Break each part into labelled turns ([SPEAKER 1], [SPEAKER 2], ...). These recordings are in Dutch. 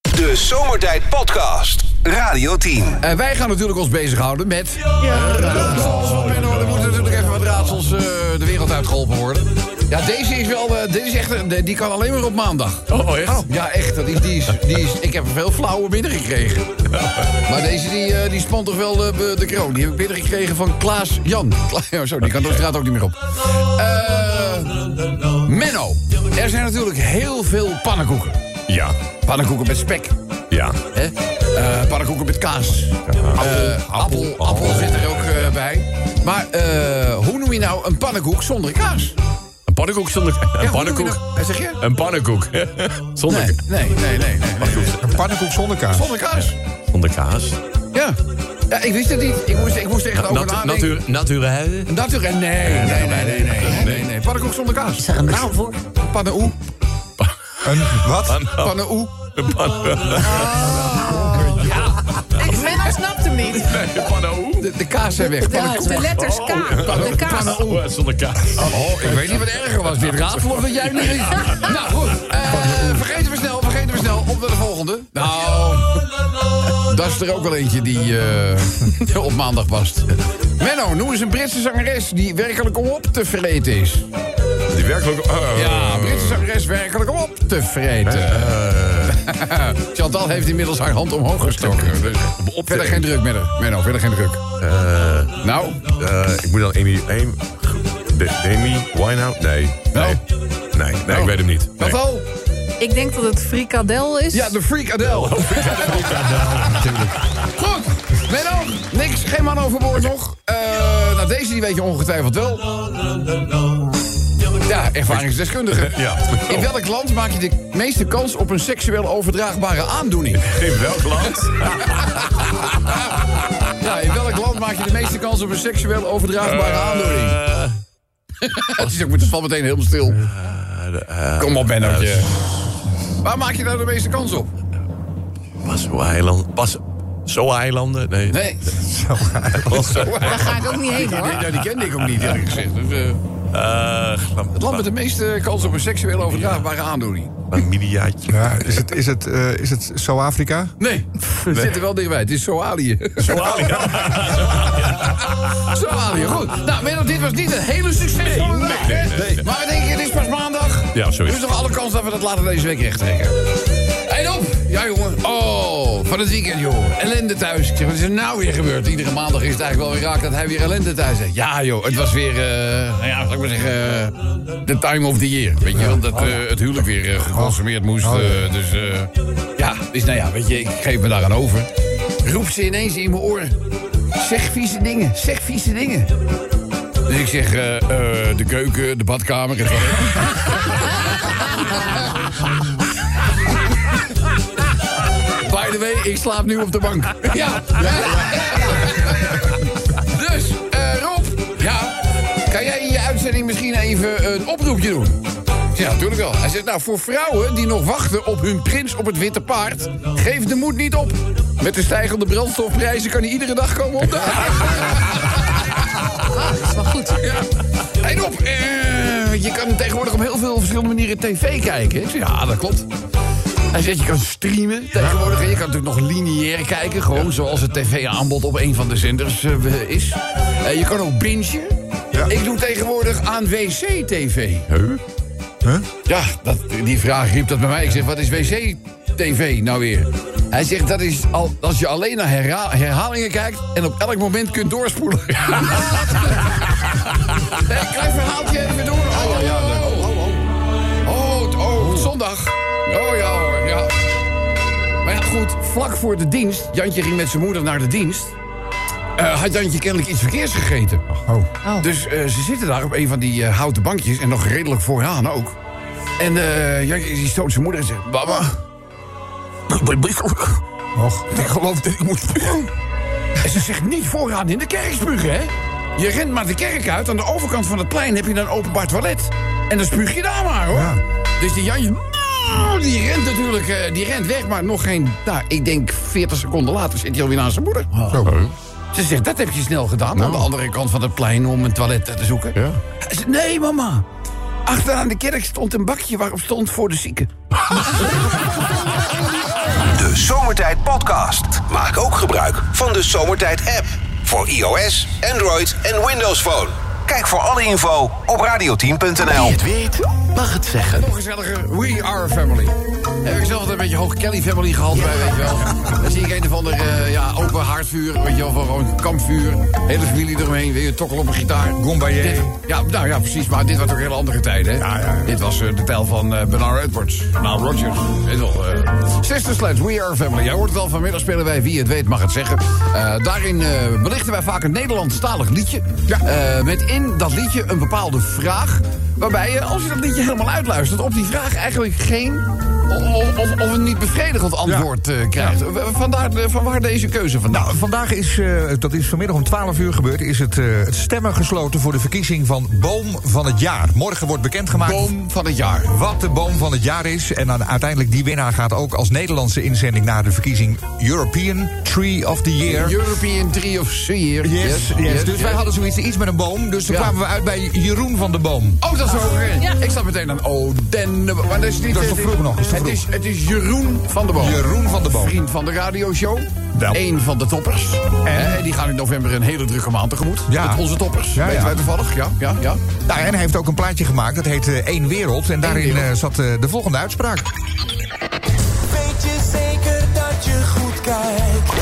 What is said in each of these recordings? [SPEAKER 1] De Zomertijd Podcast. Radio 10.
[SPEAKER 2] Eh, wij gaan natuurlijk ons bezighouden met... Eh, Raadsels van Menno. Er moeten natuurlijk even wat raadsels eh, de wereld uitgeholpen worden. Ja, deze is wel... eh, dit is echt, een- die kan alleen maar op maandag.
[SPEAKER 3] Oh, echt?
[SPEAKER 2] Ja, echt. Dat is, die is, die is, ik heb er veel flauwe binnengekregen. Maar deze die, eh, die spant toch wel eh, be- de kroon. Die heb ik binnengekregen van Klaas Jan. Kla- oh, zo, die kan de straat ook niet meer op. Eh, Menno. Er zijn natuurlijk heel veel pannenkoeken.
[SPEAKER 3] Ja.
[SPEAKER 2] Pannenkoeken met spek.
[SPEAKER 3] Ja.
[SPEAKER 2] Hè? Eh, pannenkoeken met kaas. Eh, appel, appel, zit er ook eh, bij. Maar eh, hoe noem je nou een pannenkoek zonder kaas?
[SPEAKER 3] Een pannenkoek zonder...
[SPEAKER 2] Ja,
[SPEAKER 3] Een
[SPEAKER 2] hoe noem je
[SPEAKER 3] pannenkoek.
[SPEAKER 2] nou- eh, zeg je?
[SPEAKER 3] Een pannenkoek. Zonder,
[SPEAKER 2] Nee, nee, nee, nee. nee, nee.
[SPEAKER 4] Een pannenkoek zonder kaas.
[SPEAKER 2] Zonder kaas.
[SPEAKER 3] zonder kaas.
[SPEAKER 2] Ja. ja, ik wist het niet. Ik moest, ik moest er echt over
[SPEAKER 3] Nat,
[SPEAKER 2] nadenken.
[SPEAKER 3] natuur, naturel.
[SPEAKER 2] Natuurlijk. Nee, nee, nee, nee, nee, nee, nee, nee. Pannenkoek zonder kaas. Zeg een naam voor. Pannenkoek.
[SPEAKER 4] Een wat?
[SPEAKER 2] Pannenkoek.
[SPEAKER 3] Een pannen-
[SPEAKER 5] Ik Menno snapt hem niet.
[SPEAKER 3] een pannenkoek.
[SPEAKER 2] De, de kaas zijn weg. Pannenkoek.
[SPEAKER 5] De letters K. De kaas.
[SPEAKER 3] Oh, Zonder kaas.
[SPEAKER 2] Oh, ik weet niet wat erger was. Dit raadsel of dat jij niet wist. Nou goed, Eh vergeten we snel, vergeten we snel. Op naar de volgende. Nou, dat is er ook wel eentje die eh, op maandag past. Menno, noem eens een Britse zangeres die werkelijk om op te vreten is.
[SPEAKER 3] Die werkelijk... oh.
[SPEAKER 2] Ja, een Britse zangeres werkelijk om op te vreten. Eh, Chantal heeft inmiddels haar hand omhoog gestoken. Dus
[SPEAKER 3] op eh, te
[SPEAKER 2] verder geen druk, Menno. Menno, verder geen druk. nou,
[SPEAKER 3] Eh, ik moet dan Amy... Amy de- Amy Winehouse? Nee. Nee. Nee, nee,
[SPEAKER 2] Oh.
[SPEAKER 3] ik weet hem niet.
[SPEAKER 2] wat
[SPEAKER 3] Nee.
[SPEAKER 2] al?
[SPEAKER 5] Ik denk dat het frikadel is.
[SPEAKER 2] Ja, Oh, de Freak Adele. Goed, Menno, niks, geen man overboord nog. Eh, nou, deze die weet je ongetwijfeld wel. Ja, ervaringsdeskundige.
[SPEAKER 3] Ja.
[SPEAKER 2] In welk land maak je de meeste kans op een seksueel overdraagbare aandoening?
[SPEAKER 3] In welk land?
[SPEAKER 2] Ja, in welk land maak je de meeste kans op een seksueel overdraagbare aandoening?
[SPEAKER 3] Eh,
[SPEAKER 2] Het is ook het valt meteen helemaal stil. Kom op, Menno. Waar maak je nou de meeste kans op?
[SPEAKER 3] Paso-eiland. Pas... Zo-eilanden? Nee.
[SPEAKER 2] Nee,
[SPEAKER 5] Daar ga ik ook niet heen hoor.
[SPEAKER 2] nou, die kende ik ook niet eerlijk gezegd. Dus, eh,
[SPEAKER 3] Eh,
[SPEAKER 2] het land met de meeste kans op een seksueel overdraagbare aandoening.
[SPEAKER 3] Familiaatje.
[SPEAKER 4] Ja, is het, is het, eh, is het Zuid-Afrika?
[SPEAKER 2] Nee, we zitten wel dichtbij. Het is Somalië. Somalië. Somalië, goed. Nou, Menno, dit was niet een hele succes. van de dag, hè? Maar we denken, het is pas maandag.
[SPEAKER 3] Ja, zo is
[SPEAKER 2] Er is nog alle kans dat we dat later deze week rechttrekken. En op! Ja, jongen. Oh, van het weekend, joh. Ellende thuis. Ik zeg, wat is er nou weer gebeurd? Iedere maandag is het eigenlijk wel weer raak dat hij weer ellende thuis heeft. Ja, joh. Het was weer, eh, nou ja, zal ik maar zeggen, eh, de time of the year. Weet je wel, dat eh, het huwelijk weer eh, geconsumeerd moest. eh, dus eh, ja, dus nou ja, weet je, ik geef me daaraan over. Roept ze ineens in mijn oor. Zeg vieze dingen, zeg vieze dingen. Dus ik zeg, eh, eh, de keuken, de badkamer, het toilet. By the way, ik slaap nu op de bank. Ja. Dus, eh, Rob. Ja. Kan jij in je uitzending misschien even een oproepje doen? Ik zeg, Ja, natuurlijk wel. Hij zegt, nou, voor vrouwen die nog wachten op hun prins op het witte paard... geef de moed niet op. Met de stijgende brandstofprijzen kan hij iedere dag komen op de... Dat is wel goed. Ja. En op, eh, je kan tegenwoordig op heel veel verschillende manieren tv kijken. Ik zeg, ja, dat klopt. Hij zegt, je kan streamen tegenwoordig. En je kan natuurlijk nog lineair kijken. Gewoon zoals het tv-aanbod op een van de zenders eh, is. Eh, je kan ook bingen. Ik doe tegenwoordig aan wc-tv. Ja, dat, die vraag riep dat bij mij. Ik zeg, wat is wc-tv nou weer? Hij zegt, dat is al, als je alleen naar herha- herhalingen kijkt... en op elk moment kunt doorspoelen. hey, klein verhaaltje even door. Oh, ja, oh, oh, het- oh, het zondag. Oh ja hoor, ja. Maar ja, goed, vlak voor de dienst... Jantje ging met zijn moeder naar de dienst... eh, had Jantje kennelijk iets verkeers gegeten.
[SPEAKER 4] Oh.
[SPEAKER 2] Dus eh, ze zitten daar op een van die eh, houten bankjes en nog redelijk vooraan ook. En eh, Jantje die stoot zijn moeder en zegt: Mama, ik ben misselijk.
[SPEAKER 4] Och.
[SPEAKER 2] Ik geloof dat ik moet spugen. En ze zegt niet vooraan in de kerk spugen, hè? Je rent maar de kerk uit. Aan de overkant van het plein heb je dan een openbaar toilet. En dan spuug je daar maar, hoor.
[SPEAKER 4] Ja.
[SPEAKER 2] Dus die Janje... nou, Die rent natuurlijk eh, die rent weg, maar nog geen... Nou, ik denk 40 seconden later zit hij alweer aan zijn moeder.
[SPEAKER 4] Zo.
[SPEAKER 2] Ze zegt, dat heb je snel gedaan. Aan de andere kant van het plein om een toilet eh, te zoeken.
[SPEAKER 3] Ja.
[SPEAKER 2] Hij zegt, nee mama. Achteraan de kerk stond een bakje waarop stond voor de zieken.
[SPEAKER 1] De Zomertijd Podcast. Maak ook gebruik van de Zomertijd app. Voor iOS, Android en Windows Phone. Kijk voor alle info op radioteam.nl.
[SPEAKER 2] weet, mag het zeggen. Nog gezelliger, we are a family. Heb ik zelf altijd een beetje hoog Kelly family gehad bij, weet je wel. Dan zie ik een of ander eh, ja, open haardvuur, weet je wel, van gewoon kampvuur. Hele familie eromheen, weer tokkel op een gitaar.
[SPEAKER 4] Gombayé.
[SPEAKER 2] Dit- Ja, nou ja, precies, maar dit was ook hele andere tijden, hè. Dit was eh, de tijl van eh, Bernard Edwards, Nile Rodgers. Weet je wel, eh. Sister Sledge, we are a family. Jij hoort het al, vanmiddag spelen wij Wie het weet mag het zeggen. Eh, daarin eh, belichten wij vaak een Nederlandstalig liedje.
[SPEAKER 4] Ja.
[SPEAKER 2] Eh, met in dat liedje een bepaalde vraag. Waarbij je, als je dat liedje helemaal uitluistert, op die vraag eigenlijk geen. of, of, of een niet bevredigend antwoord eh, krijgt. V- Vandaar, de- vanwaar deze keuze vandaag?
[SPEAKER 4] Nou, vandaag is, eh, dat is vanmiddag om 12 uur gebeurd, is het, eh, het stemmen gesloten voor de verkiezing van Boom van het Jaar. Morgen wordt bekendgemaakt
[SPEAKER 2] boom van het jaar.
[SPEAKER 4] wat de boom van het jaar is. En dan uiteindelijk die winnaar gaat ook als Nederlandse inzending naar de verkiezing European Tree of the Year.
[SPEAKER 2] European Tree of Seer.
[SPEAKER 4] Yes, yes, dus wij hadden zoiets iets met een boom. Dus toen
[SPEAKER 2] Ja.
[SPEAKER 4] kwamen we uit bij Jeroen van de Boom.
[SPEAKER 2] Oh, dat is ook erin. Ik zat meteen aan Oden. Maar dat is niet...
[SPEAKER 4] Dat is
[SPEAKER 2] het
[SPEAKER 4] te vroeg nog, dat is te
[SPEAKER 2] het,
[SPEAKER 4] vroeg.
[SPEAKER 2] is, het is Jeroen van de Boom.
[SPEAKER 4] Jeroen van de Boom.
[SPEAKER 2] Vriend van de radioshow.
[SPEAKER 4] Wel.
[SPEAKER 2] Eén van de toppers. Eh, En die gaan in november een hele drukke maand tegemoet.
[SPEAKER 4] Ja.
[SPEAKER 2] Met onze toppers.
[SPEAKER 4] Ja,
[SPEAKER 2] Weten
[SPEAKER 4] ja.
[SPEAKER 2] wij toevallig. Ja, ja, ja.
[SPEAKER 4] Nou, en hij heeft ook een plaatje gemaakt, dat heet eh, Eén Wereld. En daarin
[SPEAKER 2] Wereld.
[SPEAKER 4] eh, zat eh, de volgende uitspraak.
[SPEAKER 6] Weet je zeker dat je goed kijkt?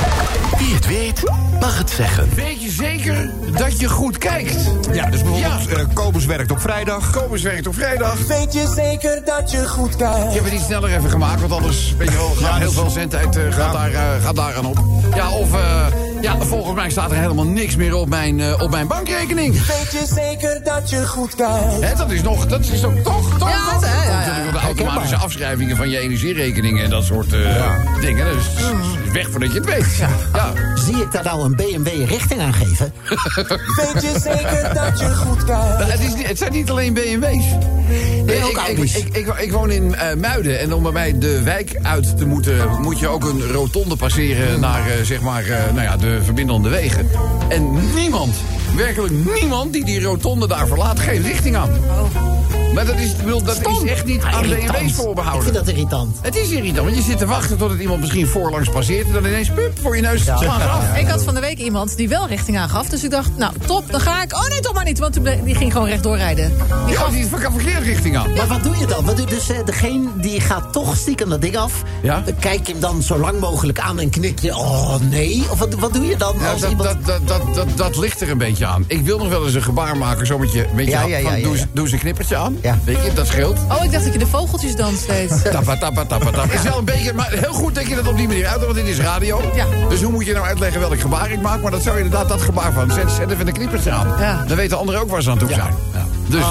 [SPEAKER 7] Wie het weet, mag het zeggen.
[SPEAKER 2] Weet je zeker dat je goed kijkt?
[SPEAKER 4] Ja, dus bijvoorbeeld
[SPEAKER 2] Ja.
[SPEAKER 4] eh, Kobus werkt op vrijdag.
[SPEAKER 2] Kobus werkt op vrijdag.
[SPEAKER 6] Weet je zeker dat je goed
[SPEAKER 2] Ik
[SPEAKER 6] kijkt?
[SPEAKER 2] heb het iets sneller even gemaakt, want anders weet je wel, gaat heel veel zendtijd eh, gaat, daar, eh, gaat daaraan op. Ja, of eh, ja, volgens mij staat er helemaal niks meer op mijn, eh, op mijn bankrekening.
[SPEAKER 6] Weet je zeker dat je goed kijkt?
[SPEAKER 2] Hè, dat is nog, dat is ook toch, toch,
[SPEAKER 5] Ja,
[SPEAKER 2] toch?
[SPEAKER 5] ja, ja, ja.
[SPEAKER 2] Natuurlijk de automatische afschrijvingen van je energierekeningen en dat soort eh, dingen. Dus het is weg voordat je het weet. Ja.
[SPEAKER 8] Zie ik daar nou een BMW richting aan geven?
[SPEAKER 6] Weet je zeker dat je goed kijkt?
[SPEAKER 2] Nou, Het, is, niet- het zijn niet alleen BMW's.
[SPEAKER 8] ook
[SPEAKER 2] ik, ik,
[SPEAKER 8] Audi's.
[SPEAKER 2] ik, ik, ik woon in eh, Muiden en om bij mij de wijk uit te moeten... moet je ook een rotonde passeren naar eh, zeg maar, eh, nou ja, de verbindende wegen. En niemand, werkelijk niemand die die rotonde daar verlaat... geeft richting aan.
[SPEAKER 5] Oh.
[SPEAKER 2] Maar dat is, ik bedoel, dat is echt niet aan BMW's
[SPEAKER 8] Ah, Irritant. Ik
[SPEAKER 2] voorbehouden.
[SPEAKER 8] vind dat irritant.
[SPEAKER 2] Het is irritant, want je zit te wachten totdat iemand misschien voorlangs passeert... en dan ineens, pup, voor je neus slaan ze af.
[SPEAKER 5] Ik had van de week iemand die wel richting aangaf. Dus ik dacht, nou top, dan ga ik. Oh nee, toch maar niet. Want toen ble- die ging gewoon rechtdoor rijden.
[SPEAKER 2] Je gaat niet verkeerd richting aan.
[SPEAKER 8] Maar wat doe je dan? Wat doe, dus eh, degene die gaat toch stiekem dat ding af.
[SPEAKER 2] Ja.
[SPEAKER 8] Dan Kijk je hem dan zo lang mogelijk aan en knik je. Oh nee. Of wat, wat doe je dan
[SPEAKER 2] Ja,
[SPEAKER 8] als
[SPEAKER 2] Nou, dat,
[SPEAKER 8] iemand...
[SPEAKER 2] dat, dat, dat, dat, dat ligt er een beetje aan. Ik wil nog wel eens een gebaar maken, zo met je... Met je
[SPEAKER 8] Ja,
[SPEAKER 2] hand
[SPEAKER 8] ja, ja,
[SPEAKER 2] van,
[SPEAKER 8] ja,
[SPEAKER 2] doe, eens-
[SPEAKER 8] ja.
[SPEAKER 2] doe eens een knippertje aan,
[SPEAKER 8] Ja.
[SPEAKER 2] weet je, dat scheelt.
[SPEAKER 5] Oh, ik dacht dat je de vogeltjes dans deed.
[SPEAKER 2] Tappa, tappa, tappa, tappa. Is wel een beetje, maar heel goed denk je dat op die manier uit, want dit is radio.
[SPEAKER 5] Ja.
[SPEAKER 2] Dus hoe moet je nou uitleggen welk gebaar ik maak? Maar dat zou inderdaad dat gebaar van, zet, zet even een knippertje aan.
[SPEAKER 5] Ja.
[SPEAKER 2] Dan weten anderen ook waar ze aan toe zijn. Ja. Dus,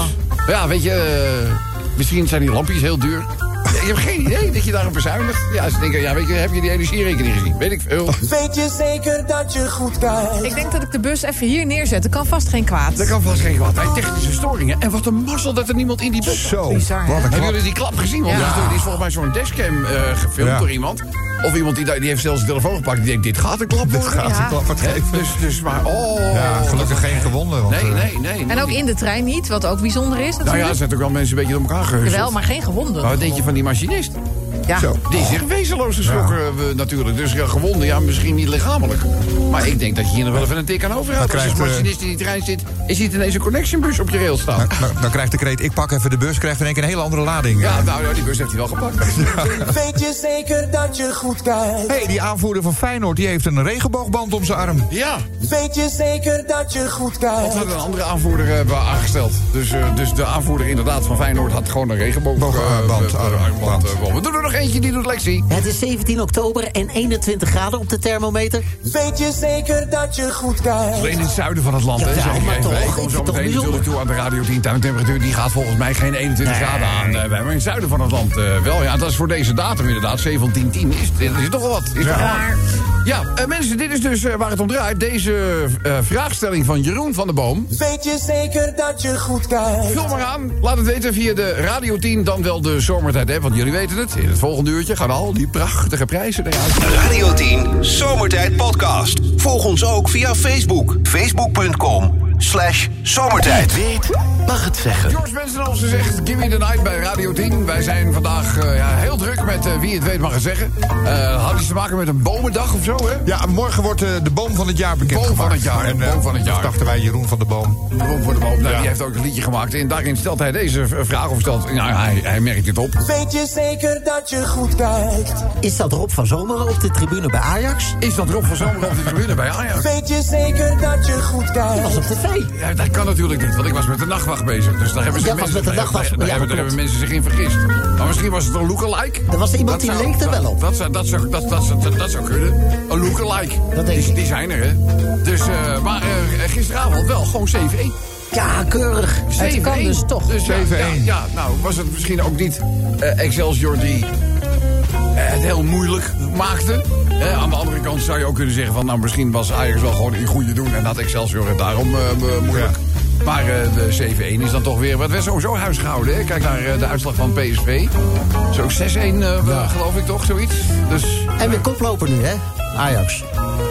[SPEAKER 2] ja, weet je, eh, misschien zijn die lampjes heel duur. Je hebt geen idee dat je daarop bezuinigt. Ja, ze denken, ja, weet je, heb je die energierekening gezien? Weet ik veel.
[SPEAKER 6] Weet je zeker dat je goed kijkt?
[SPEAKER 5] Ik denk dat ik de bus even hier neerzet. Dat kan vast geen kwaad.
[SPEAKER 2] Dat kan vast geen kwaad. Hij technische storingen. En wat een mazzel dat er niemand in die bus zat.
[SPEAKER 4] Zo,
[SPEAKER 5] Bizar, hè?
[SPEAKER 4] wat een
[SPEAKER 2] Hebben
[SPEAKER 4] klap.
[SPEAKER 2] jullie die klap gezien? Want
[SPEAKER 5] Ja.
[SPEAKER 2] er is- er is volgens mij zo'n dashcam eh, gefilmd
[SPEAKER 4] Ja.
[SPEAKER 2] door iemand. Of iemand die, daar- die heeft zelfs de telefoon gepakt. Die denkt, dit gaat een klap
[SPEAKER 4] Dit
[SPEAKER 2] worden.
[SPEAKER 4] gaat een
[SPEAKER 5] Ja.
[SPEAKER 4] klap wat
[SPEAKER 2] Hè?
[SPEAKER 4] geven.
[SPEAKER 2] Dus, dus maar, oh.
[SPEAKER 4] Ja, gelukkig geen gewonnen. Want,
[SPEAKER 2] Nee,
[SPEAKER 4] eh,
[SPEAKER 2] nee, nee.
[SPEAKER 5] En ook
[SPEAKER 2] nee.
[SPEAKER 5] in de trein niet, wat ook bijzonder is
[SPEAKER 2] Nou ja,
[SPEAKER 5] natuurlijk.
[SPEAKER 2] er zijn ook wel mensen een beetje door elkaar geheuzeld.
[SPEAKER 5] Wel, maar geen gewonden.
[SPEAKER 2] Maar wat denk je van die machinist?
[SPEAKER 5] Ja.
[SPEAKER 4] Zo.
[SPEAKER 2] Die is zich wezenloos geschrokken eh, natuurlijk. Dus ja, gewonden, ja, misschien niet lichamelijk. Maar ik denk dat je hier nog wel even een tik aan overhoudt.
[SPEAKER 4] Dan
[SPEAKER 2] Als je een
[SPEAKER 4] krijgt, eh,
[SPEAKER 2] machinist in die trein zit... en ziet ineens een connectionbus op je rail staan.
[SPEAKER 4] Dan, dan Nou, krijgt de kreet, ik pak even de bus, krijgt in één keer een hele andere lading.
[SPEAKER 2] Ja, nou, ja, die bus heeft hij wel gepakt.
[SPEAKER 6] Weet je zeker dat je goed kijkt?
[SPEAKER 4] hey, die aanvoerder van Feyenoord, die heeft een regenboogband om zijn arm.
[SPEAKER 2] Ja,
[SPEAKER 6] Weet je zeker dat je goed
[SPEAKER 2] dat
[SPEAKER 6] kijkt?
[SPEAKER 2] had een andere aanvoerder hebben aangesteld. Dus, eh, dus de aanvoerder inderdaad van Feyenoord had gewoon een regenboogband.
[SPEAKER 4] Boog, eh, band, arm, band.
[SPEAKER 2] We doen er nog eentje, die doet Lexi.
[SPEAKER 8] Het is 17 oktober en 21 graden op de thermometer.
[SPEAKER 6] Weet je zeker dat je goed kijkt?
[SPEAKER 2] Alleen in het zuiden van het land, hè?
[SPEAKER 8] Ja,
[SPEAKER 2] zeg ik
[SPEAKER 8] maar
[SPEAKER 2] even.
[SPEAKER 8] toch,
[SPEAKER 2] Ik
[SPEAKER 8] ik
[SPEAKER 2] kom
[SPEAKER 8] vind
[SPEAKER 2] zo
[SPEAKER 8] het toch
[SPEAKER 2] meteen natuurlijk
[SPEAKER 8] bijzonder.
[SPEAKER 2] toe aan de Radio 10 tuintemperatuur. Die gaat volgens mij geen 21 graden aan. eh, bij, maar in het zuiden van het land eh, wel. Ja, dat is voor deze datum inderdaad. 1710 is, dit is toch wel wat. Is ja, ja eh, mensen, dit is dus eh, waar het om draait. Deze eh, vraagstelling van Jeroen van der Boom.
[SPEAKER 6] Weet je zeker dat je goed kijkt?
[SPEAKER 2] Vul maar aan. Laat het weten via de Radio 10, dan wel de Zomertijd app. Want jullie weten het, in het volgende uurtje gaan al die prachtige prijzen eruit.
[SPEAKER 1] Radio 10 Zomertijd Podcast. Volg ons ook via Facebook. Facebook.com slash zomertijd.
[SPEAKER 7] Het weet mag het zeggen.
[SPEAKER 2] George Benson ze zegt, Gimme the Night bij Radio 10. Wij zijn vandaag eh, ja, heel druk met eh, wie het weet mag het zeggen. Eh, hadden ze te maken met een bomendag of zo, hè?
[SPEAKER 4] Ja, morgen wordt eh, de boom van het jaar bekend.
[SPEAKER 2] Boom van het jaar,
[SPEAKER 4] En, eh,
[SPEAKER 2] boom van het jaar.
[SPEAKER 4] dat dachten wij Jeroen van de Boom.
[SPEAKER 2] De boom voor de boom. Nou,
[SPEAKER 4] Ja.
[SPEAKER 2] Die heeft ook een liedje gemaakt. En daarin stelt hij deze v- vraag. Of stelt, nou, hij, hij merkt dit op.
[SPEAKER 6] Weet je zeker dat je goed kijkt?
[SPEAKER 8] Is dat Rob van Zomeren op de tribune bij Ajax?
[SPEAKER 2] Is dat Rob van Zomer op de tribune bij Ajax?
[SPEAKER 6] Weet je zeker dat je goed
[SPEAKER 8] Die was
[SPEAKER 6] kijkt?
[SPEAKER 8] op tv.
[SPEAKER 2] Ja, dat kan natuurlijk niet, want ik was met de nachtwacht bezig. Dus daar hebben, ze
[SPEAKER 8] Jij was
[SPEAKER 2] mensen,
[SPEAKER 8] met de
[SPEAKER 2] daar-
[SPEAKER 8] nachtwacht,
[SPEAKER 2] daar-
[SPEAKER 8] ja,
[SPEAKER 2] daar hebben, daar
[SPEAKER 8] klopt.
[SPEAKER 2] hebben mensen zich in vergist. Maar misschien was het een lookalike.
[SPEAKER 8] Er was iemand die leek er wel op.
[SPEAKER 2] Dat zou, dat, zou, dat, dat, zou, dat zou kunnen. Een lookalike.
[SPEAKER 8] Dat denk
[SPEAKER 2] die,
[SPEAKER 8] ik.
[SPEAKER 2] die zijn er, hè. Dus, eh, maar eh, gisteravond wel gewoon 7-1.
[SPEAKER 8] Ja, keurig.
[SPEAKER 2] 7-1.
[SPEAKER 5] kan dus toch.
[SPEAKER 2] Dus ja,
[SPEAKER 4] 7-1.
[SPEAKER 2] Ja, ja, nou was het misschien ook niet eh, Excelsior die eh, het heel moeilijk maakte. Eh, aan de andere kant zou je ook kunnen zeggen van... nou, misschien was Ajax wel gewoon in goede doen... en had Excelsior het daarom eh, mo- moeilijk. Maar eh, de 7-1 is dan toch weer... wat werd sowieso huisgehouden, hè? Kijk naar eh, de uitslag van PSV. Zo 6-1, eh, geloof ik toch, zoiets? Dus
[SPEAKER 8] En weer koploper nu, hè? Ajax.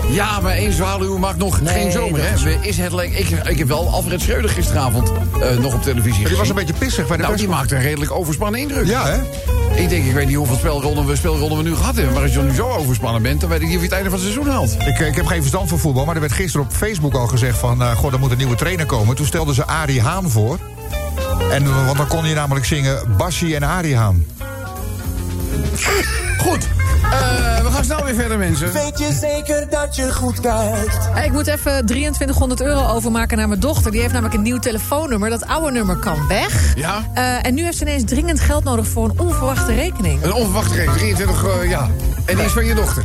[SPEAKER 2] ja, maar één zwaluw maakt nog
[SPEAKER 8] Nee,
[SPEAKER 2] geen zomer,
[SPEAKER 8] dat
[SPEAKER 2] hè?
[SPEAKER 8] is-
[SPEAKER 2] We- Is het leuk? Ik, ik heb wel Alfred Schreuder gisteravond eh, nog op televisie
[SPEAKER 4] Die was
[SPEAKER 2] gezien.
[SPEAKER 4] een beetje pissig bij de
[SPEAKER 2] Nou,
[SPEAKER 4] pers.
[SPEAKER 2] die maakt een redelijk overspannen indruk.
[SPEAKER 4] Ja, hè?
[SPEAKER 2] Ik denk, ik weet niet hoeveel spelronden we, spelronden we nu gehad hebben. Maar als je nu zo overspannen bent, dan weet ik niet of je het einde van het seizoen haalt.
[SPEAKER 4] Ik, eh, ik heb geen verstand van voetbal, maar er werd gisteren op Facebook al gezegd van... eh goh, er moet een nieuwe trainer komen. Toen stelden ze Arie Haan voor. En, eh, want dan kon je namelijk zingen Bassie en Arie Haan.
[SPEAKER 2] Goed, eh, we gaan snel weer verder, mensen.
[SPEAKER 6] Weet je zeker dat je goed kijkt?
[SPEAKER 5] Hey, ik moet even 2300 euro overmaken naar mijn dochter. Die heeft namelijk een nieuw telefoonnummer. Dat oude nummer kan weg.
[SPEAKER 2] Ja.
[SPEAKER 5] Eh, en nu heeft ze ineens dringend geld nodig voor een onverwachte rekening.
[SPEAKER 2] Een onverwachte rekening, 23, eh, ja. En die is van je dochter.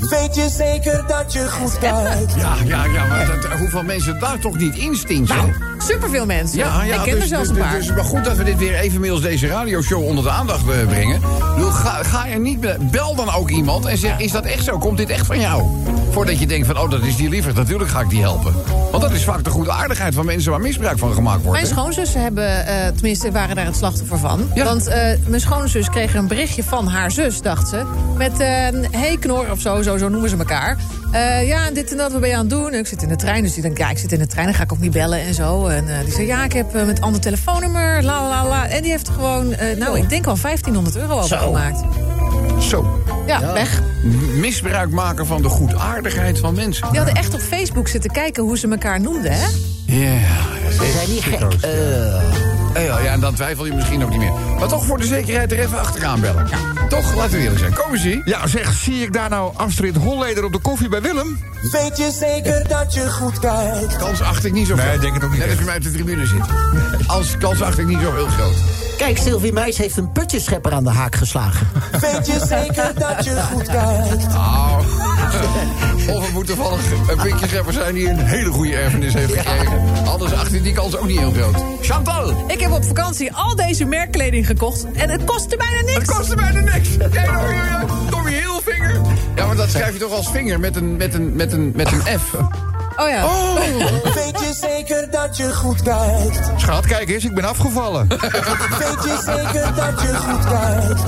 [SPEAKER 6] Weet je zeker dat je goed kijkt?
[SPEAKER 2] Ja, ja, ja, maar dat, hoeveel mensen daar toch niet in stinken?
[SPEAKER 5] Superveel mensen.
[SPEAKER 2] Ja, ja,
[SPEAKER 5] ik ken
[SPEAKER 2] dus-
[SPEAKER 5] er zelfs
[SPEAKER 2] dus-
[SPEAKER 5] een paar.
[SPEAKER 2] dus- maar goed dat we dit weer even middels deze radioshow onder de aandacht eh, brengen. Ik bedoel, Ga, ga er niet be- Bel dan ook iemand en zeg: Is dat echt zo? Komt dit echt van jou? Voordat je denkt: van, Oh, dat is die liever. Natuurlijk ga ik die helpen. Want dat is vaak de goede aardigheid van mensen waar misbruik van gemaakt wordt.
[SPEAKER 5] Mijn
[SPEAKER 2] hè?
[SPEAKER 5] schoonzussen hebben, eh, tenminste, waren daar het slachtoffer van.
[SPEAKER 2] Ja.
[SPEAKER 5] Want eh, mijn schoonzus kreeg een berichtje van haar zus, dacht ze. Met eh, een hey knor of zo, zo, zo noemen ze elkaar. Eh, ja, en dit en dat, wat ben je aan het doen? En ik zit in de trein, dus die denkt, ja, ik zit in de trein, dan ga ik ook niet bellen en zo. En eh, die zei, ja, ik heb eh, met een ander telefoonnummer, la la la. En die heeft gewoon, eh, nou, ik denk al 1500 euro overgemaakt.
[SPEAKER 2] Zo.
[SPEAKER 5] Ja, weg.
[SPEAKER 2] M- Misbruik maken van de goedaardigheid van mensen.
[SPEAKER 5] Die hadden echt op Facebook zitten kijken hoe ze elkaar noemden, hè?
[SPEAKER 2] Ja.
[SPEAKER 8] We zijn niet gek. Eh,
[SPEAKER 2] Ja, ja, en dan twijfel je misschien ook niet meer. Maar toch voor de zekerheid er even achteraan bellen. Toch, laten we eerlijk zijn. Kom eens hier.
[SPEAKER 4] Ja, zeg, zie ik daar nou Astrid Holleder op de koffie bij Willem?
[SPEAKER 6] Weet je zeker dat je goed kijkt?
[SPEAKER 2] Kans acht ik niet zo
[SPEAKER 4] Nee,
[SPEAKER 2] groot.
[SPEAKER 4] ik denk het ook niet
[SPEAKER 2] Net als je
[SPEAKER 4] echt.
[SPEAKER 2] mij op de tribune zit. Als kans acht ik niet zo heel groot.
[SPEAKER 8] kijk, Sylvie Meijs heeft een putjeschepper aan de haak geslagen.
[SPEAKER 6] Weet je zeker dat je goed kijkt?
[SPEAKER 2] Nou, of het moet toevallig een puntje schepper zijn die een hele goede erfenis heeft gekregen. Anders acht ik die kans ook niet heel groot. Chantal,
[SPEAKER 5] Ik heb op vakantie al deze merkkleding gekocht en het kostte bijna niks.
[SPEAKER 2] het kostte bijna niks. Jij nou weer, eh, Tommy Hilfiger. Ja, maar dat schrijf je toch als vinger met een, met een, met een, met een F.
[SPEAKER 5] Oh ja.
[SPEAKER 6] Weet je zeker dat je goed kijkt?
[SPEAKER 4] Schat, kijk eens, ik ben afgevallen.
[SPEAKER 6] Weet je zeker dat je goed kijkt?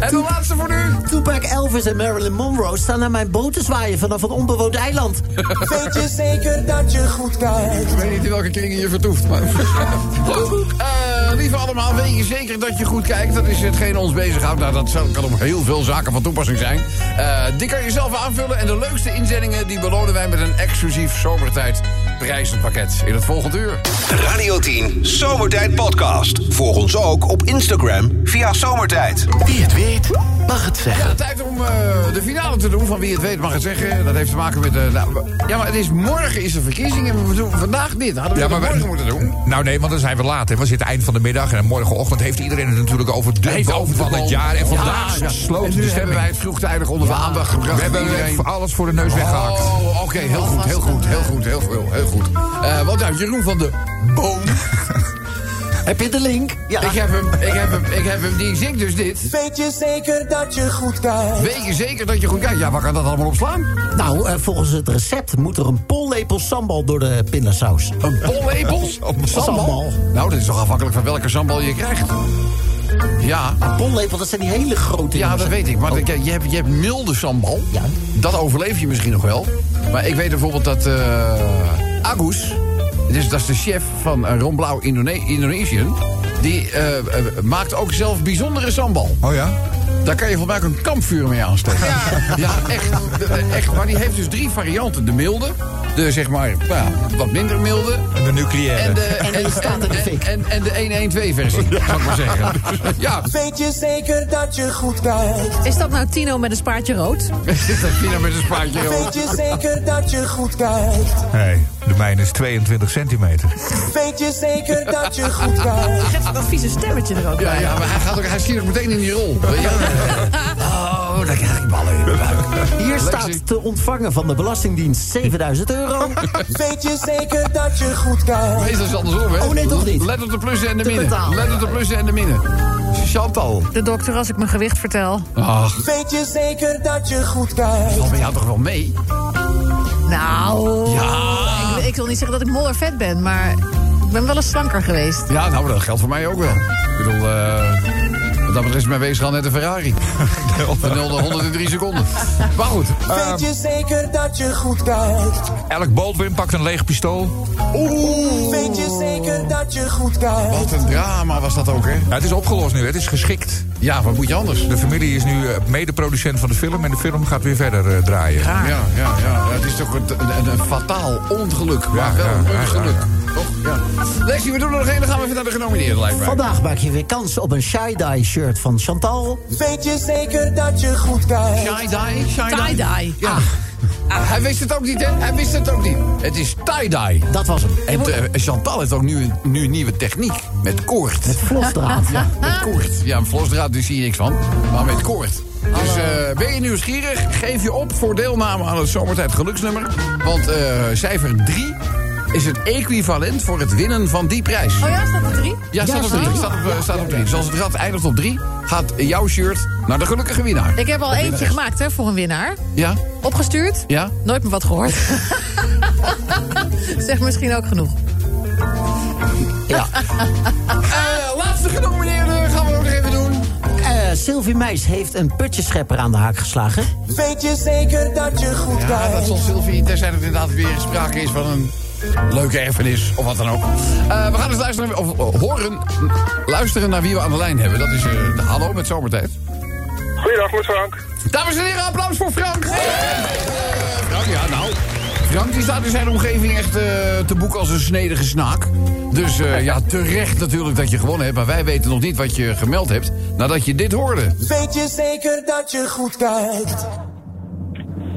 [SPEAKER 2] En de laatste voor nu.
[SPEAKER 8] Tupac Elvis en Marilyn Monroe staan aan mijn boot te zwaaien vanaf een onbewoond eiland.
[SPEAKER 6] Weet je zeker dat je goed kijkt?
[SPEAKER 2] Ik weet niet in welke kringen je vertoeft, maar... Goed, eh, lieve allemaal, weet je zeker dat je goed kijkt? Dat is hetgeen ons bezighoudt. Nou, dat zou- kan op heel veel zaken van toepassing zijn. Eh, die kan je zelf aanvullen. En de leukste inzendingen die belonen wij met een exclusief zomertijd prijzenpakket. In het volgende uur.
[SPEAKER 1] De Radio 10 Zomertijd Podcast. Volg ons ook op Instagram via Zomertijd.
[SPEAKER 7] Wie het weet mag het zeggen.
[SPEAKER 2] Tijd om eh, de finale te doen van wie het weet mag het zeggen. Dat heeft te maken met... eh, nou, ja, maar het is morgen is de verkiezing en we doen vandaag dit. Hadden we dat
[SPEAKER 4] we
[SPEAKER 2] morgen moeten doen.
[SPEAKER 4] Nou nee, want dan zijn we laat. Hè. We zitten eind van de middag en dan morgenochtend heeft iedereen het natuurlijk over de
[SPEAKER 2] Heeft
[SPEAKER 4] boom van
[SPEAKER 2] overgekomen.
[SPEAKER 4] het jaar. En
[SPEAKER 2] Ja,
[SPEAKER 4] vandaag
[SPEAKER 2] ja.
[SPEAKER 4] sloot
[SPEAKER 2] En nu
[SPEAKER 4] de
[SPEAKER 2] hebben wij
[SPEAKER 4] stemming.
[SPEAKER 2] het vroegtijdig onder de aandacht gebracht.
[SPEAKER 4] We hebben
[SPEAKER 2] Iedereen-
[SPEAKER 4] alles voor de neus weggehaakt.
[SPEAKER 2] Oh, oké, heel goed, heel goed, heel goed, heel goed, heel goed. Eh, want nou, Jeroen van de Boom.
[SPEAKER 8] Heb je de link? Ja.
[SPEAKER 2] Ik heb hem, ik heb hem, ik heb hem, die zingt dus dit.
[SPEAKER 6] Weet je zeker dat je goed kijkt?
[SPEAKER 2] Weet je zeker dat je goed kijkt? Ja, waar kan dat allemaal op slaan?
[SPEAKER 8] Nou, eh, volgens het recept moet er een pollepel sambal door de pindasaus.
[SPEAKER 2] Een pollepel?
[SPEAKER 8] Sambal.
[SPEAKER 2] Nou, dat is toch afhankelijk van welke sambal je krijgt. Ja,
[SPEAKER 8] Pollepel, dat zijn die hele grote
[SPEAKER 2] ja
[SPEAKER 8] jongens,
[SPEAKER 2] dat
[SPEAKER 8] hè?
[SPEAKER 2] weet ik. Maar kijk, je, hebt, je hebt milde sambal.
[SPEAKER 8] Ja.
[SPEAKER 2] Dat overleef je misschien nog wel. Maar ik weet bijvoorbeeld dat eh Agus... Dus dat is de chef van eh, Ron Blauw Indone- Indonesian. Die eh, eh, maakt ook zelf bijzondere sambal.
[SPEAKER 4] Oh ja?
[SPEAKER 2] Daar kan je volgens mij ook een kampvuur mee aanstoken. Ja, echt, Eh, echt. Maar die heeft dus drie varianten. De milde, de zeg maar nou ja, wat minder milde.
[SPEAKER 4] En de nucleaire.
[SPEAKER 2] En de,
[SPEAKER 8] En die staat in de fik.
[SPEAKER 2] en, en de 112-versie, zou ik maar zeggen. Ja,
[SPEAKER 6] Weet je zeker dat je goed kijkt?
[SPEAKER 5] Is dat nou Tino met een spaartje rood?
[SPEAKER 2] dat Tina met een spaatje. joh.
[SPEAKER 6] Weet je zeker dat je goed kijkt?
[SPEAKER 4] Nee, de mijne is 22 centimeter.
[SPEAKER 6] Weet je zeker dat je goed kijkt?
[SPEAKER 5] Geef dat vieze stemmetje er ook
[SPEAKER 2] Ja, ja, maar hij, gaat ook, hij schiet ook meteen in die rol. weet je wel. Oh, daar krijg ik ballen in mijn buik.
[SPEAKER 8] Hier
[SPEAKER 2] zeg.
[SPEAKER 8] staat te ontvangen van de Belastingdienst 7000 euro.
[SPEAKER 6] Weet je zeker dat je goed kijkt?
[SPEAKER 2] Meestal is het andersom, hè?
[SPEAKER 8] Oh, nee, toch niet?
[SPEAKER 2] Let op de plussen en de
[SPEAKER 8] Te
[SPEAKER 2] minnen.
[SPEAKER 8] betalen.
[SPEAKER 2] Let op de plussen en de minnen. Chantal.
[SPEAKER 5] De dokter, als ik mijn gewicht vertel.
[SPEAKER 2] Ach,
[SPEAKER 6] Weet je zeker dat je goed kijkt?
[SPEAKER 2] valt bij jou toch wel mee?
[SPEAKER 5] Nou,
[SPEAKER 2] Ja.
[SPEAKER 5] ik, ik wil niet zeggen dat ik mollervet ben, maar ik ben wel eens slanker geweest.
[SPEAKER 2] Ja, nou, maar dat geldt voor mij ook wel. Ik bedoel, eh wat dat betreft is mijn weegschaal net een Ferrari. Van 0 naar 103 seconden. Maar goed.
[SPEAKER 6] Weet je zeker dat je goed kijkt?
[SPEAKER 4] Elk Baldwin pakt een leeg pistool.
[SPEAKER 6] Weet je zeker dat je goed kijkt?
[SPEAKER 2] Wat een drama was dat ook, hè?
[SPEAKER 4] Ja, het is opgelost nu, het is geschikt.
[SPEAKER 2] Ja, wat moet je anders?
[SPEAKER 4] De familie is nu eh, medeproducent van de film en de film gaat weer verder eh, draaien.
[SPEAKER 2] Ja, ja, ja. ja, Het is toch een, een, een fataal ongeluk. Maar
[SPEAKER 4] Ja,
[SPEAKER 2] wel
[SPEAKER 4] ja,
[SPEAKER 2] een
[SPEAKER 4] ja, ja,
[SPEAKER 2] ongeluk. Toch? Ja. Lexie, we doen er nog één. Dan gaan we even naar de genomineerden, lijkt mij.
[SPEAKER 8] Vandaag maak je weer kans op een tie-dye shirt van Chantal.
[SPEAKER 6] Weet je zeker dat je goed kijkt?
[SPEAKER 2] Tie-dye? Tie-dye?
[SPEAKER 5] Tie-dye.
[SPEAKER 2] Ja. Ah, Hij wist het ook niet, hè? Hij wist het ook niet. Het is tie-dye.
[SPEAKER 8] Dat was hem.
[SPEAKER 2] En eh, Chantal heeft ook nu, een- nu een nieuwe techniek. Met koord.
[SPEAKER 8] Vlosdraad.
[SPEAKER 2] Met koord. Ja, een vlosdraad, daar zie je niks van. Maar met koord. Dus eh, ben je nieuwsgierig? Geef je op voor deelname aan het Zomertijd Geluksnummer. Want eh, cijfer 3 is het equivalent voor het winnen van die prijs.
[SPEAKER 5] Oh ja, staat er drie?
[SPEAKER 2] Ja, staat op
[SPEAKER 8] staat
[SPEAKER 2] drie.
[SPEAKER 8] er.
[SPEAKER 2] Staat op, eh, staat op drie. Dus als het rad eindigt op drie, gaat jouw shirt naar de gelukkige winnaar.
[SPEAKER 5] Ik heb al eentje gemaakt hè, voor een winnaar.
[SPEAKER 2] Ja?
[SPEAKER 5] Opgestuurd?
[SPEAKER 2] Ja?
[SPEAKER 5] Nooit meer wat gehoord. zeg misschien ook genoeg.
[SPEAKER 2] Eh, laatste genomineerde gaan we ook nog even doen.
[SPEAKER 8] Eh, Sylvie Meis heeft een putjeschepper aan de haak geslagen.
[SPEAKER 6] Weet je zeker dat je goed
[SPEAKER 2] Ja, dat
[SPEAKER 6] kijkt?
[SPEAKER 2] zal Sylvie, tenzij er inderdaad weer sprake is van een leuke erfenis of wat dan ook. Eh, we gaan eens luisteren, of eh, horen, luisteren naar wie we aan de lijn hebben. Dat is eh, de Hallo met Zomertijd.
[SPEAKER 9] Goeiedag, met Frank.
[SPEAKER 2] Dames en heren, applaus voor Frank! Eh, Frank, ja, nou. Frank die staat in zijn omgeving echt eh, te boek als een snedige snaak. Dus eh, ja, terecht natuurlijk dat je gewonnen hebt. Maar wij weten nog niet wat je gemeld hebt nadat je dit hoorde.
[SPEAKER 6] Weet je zeker dat je goed kijkt?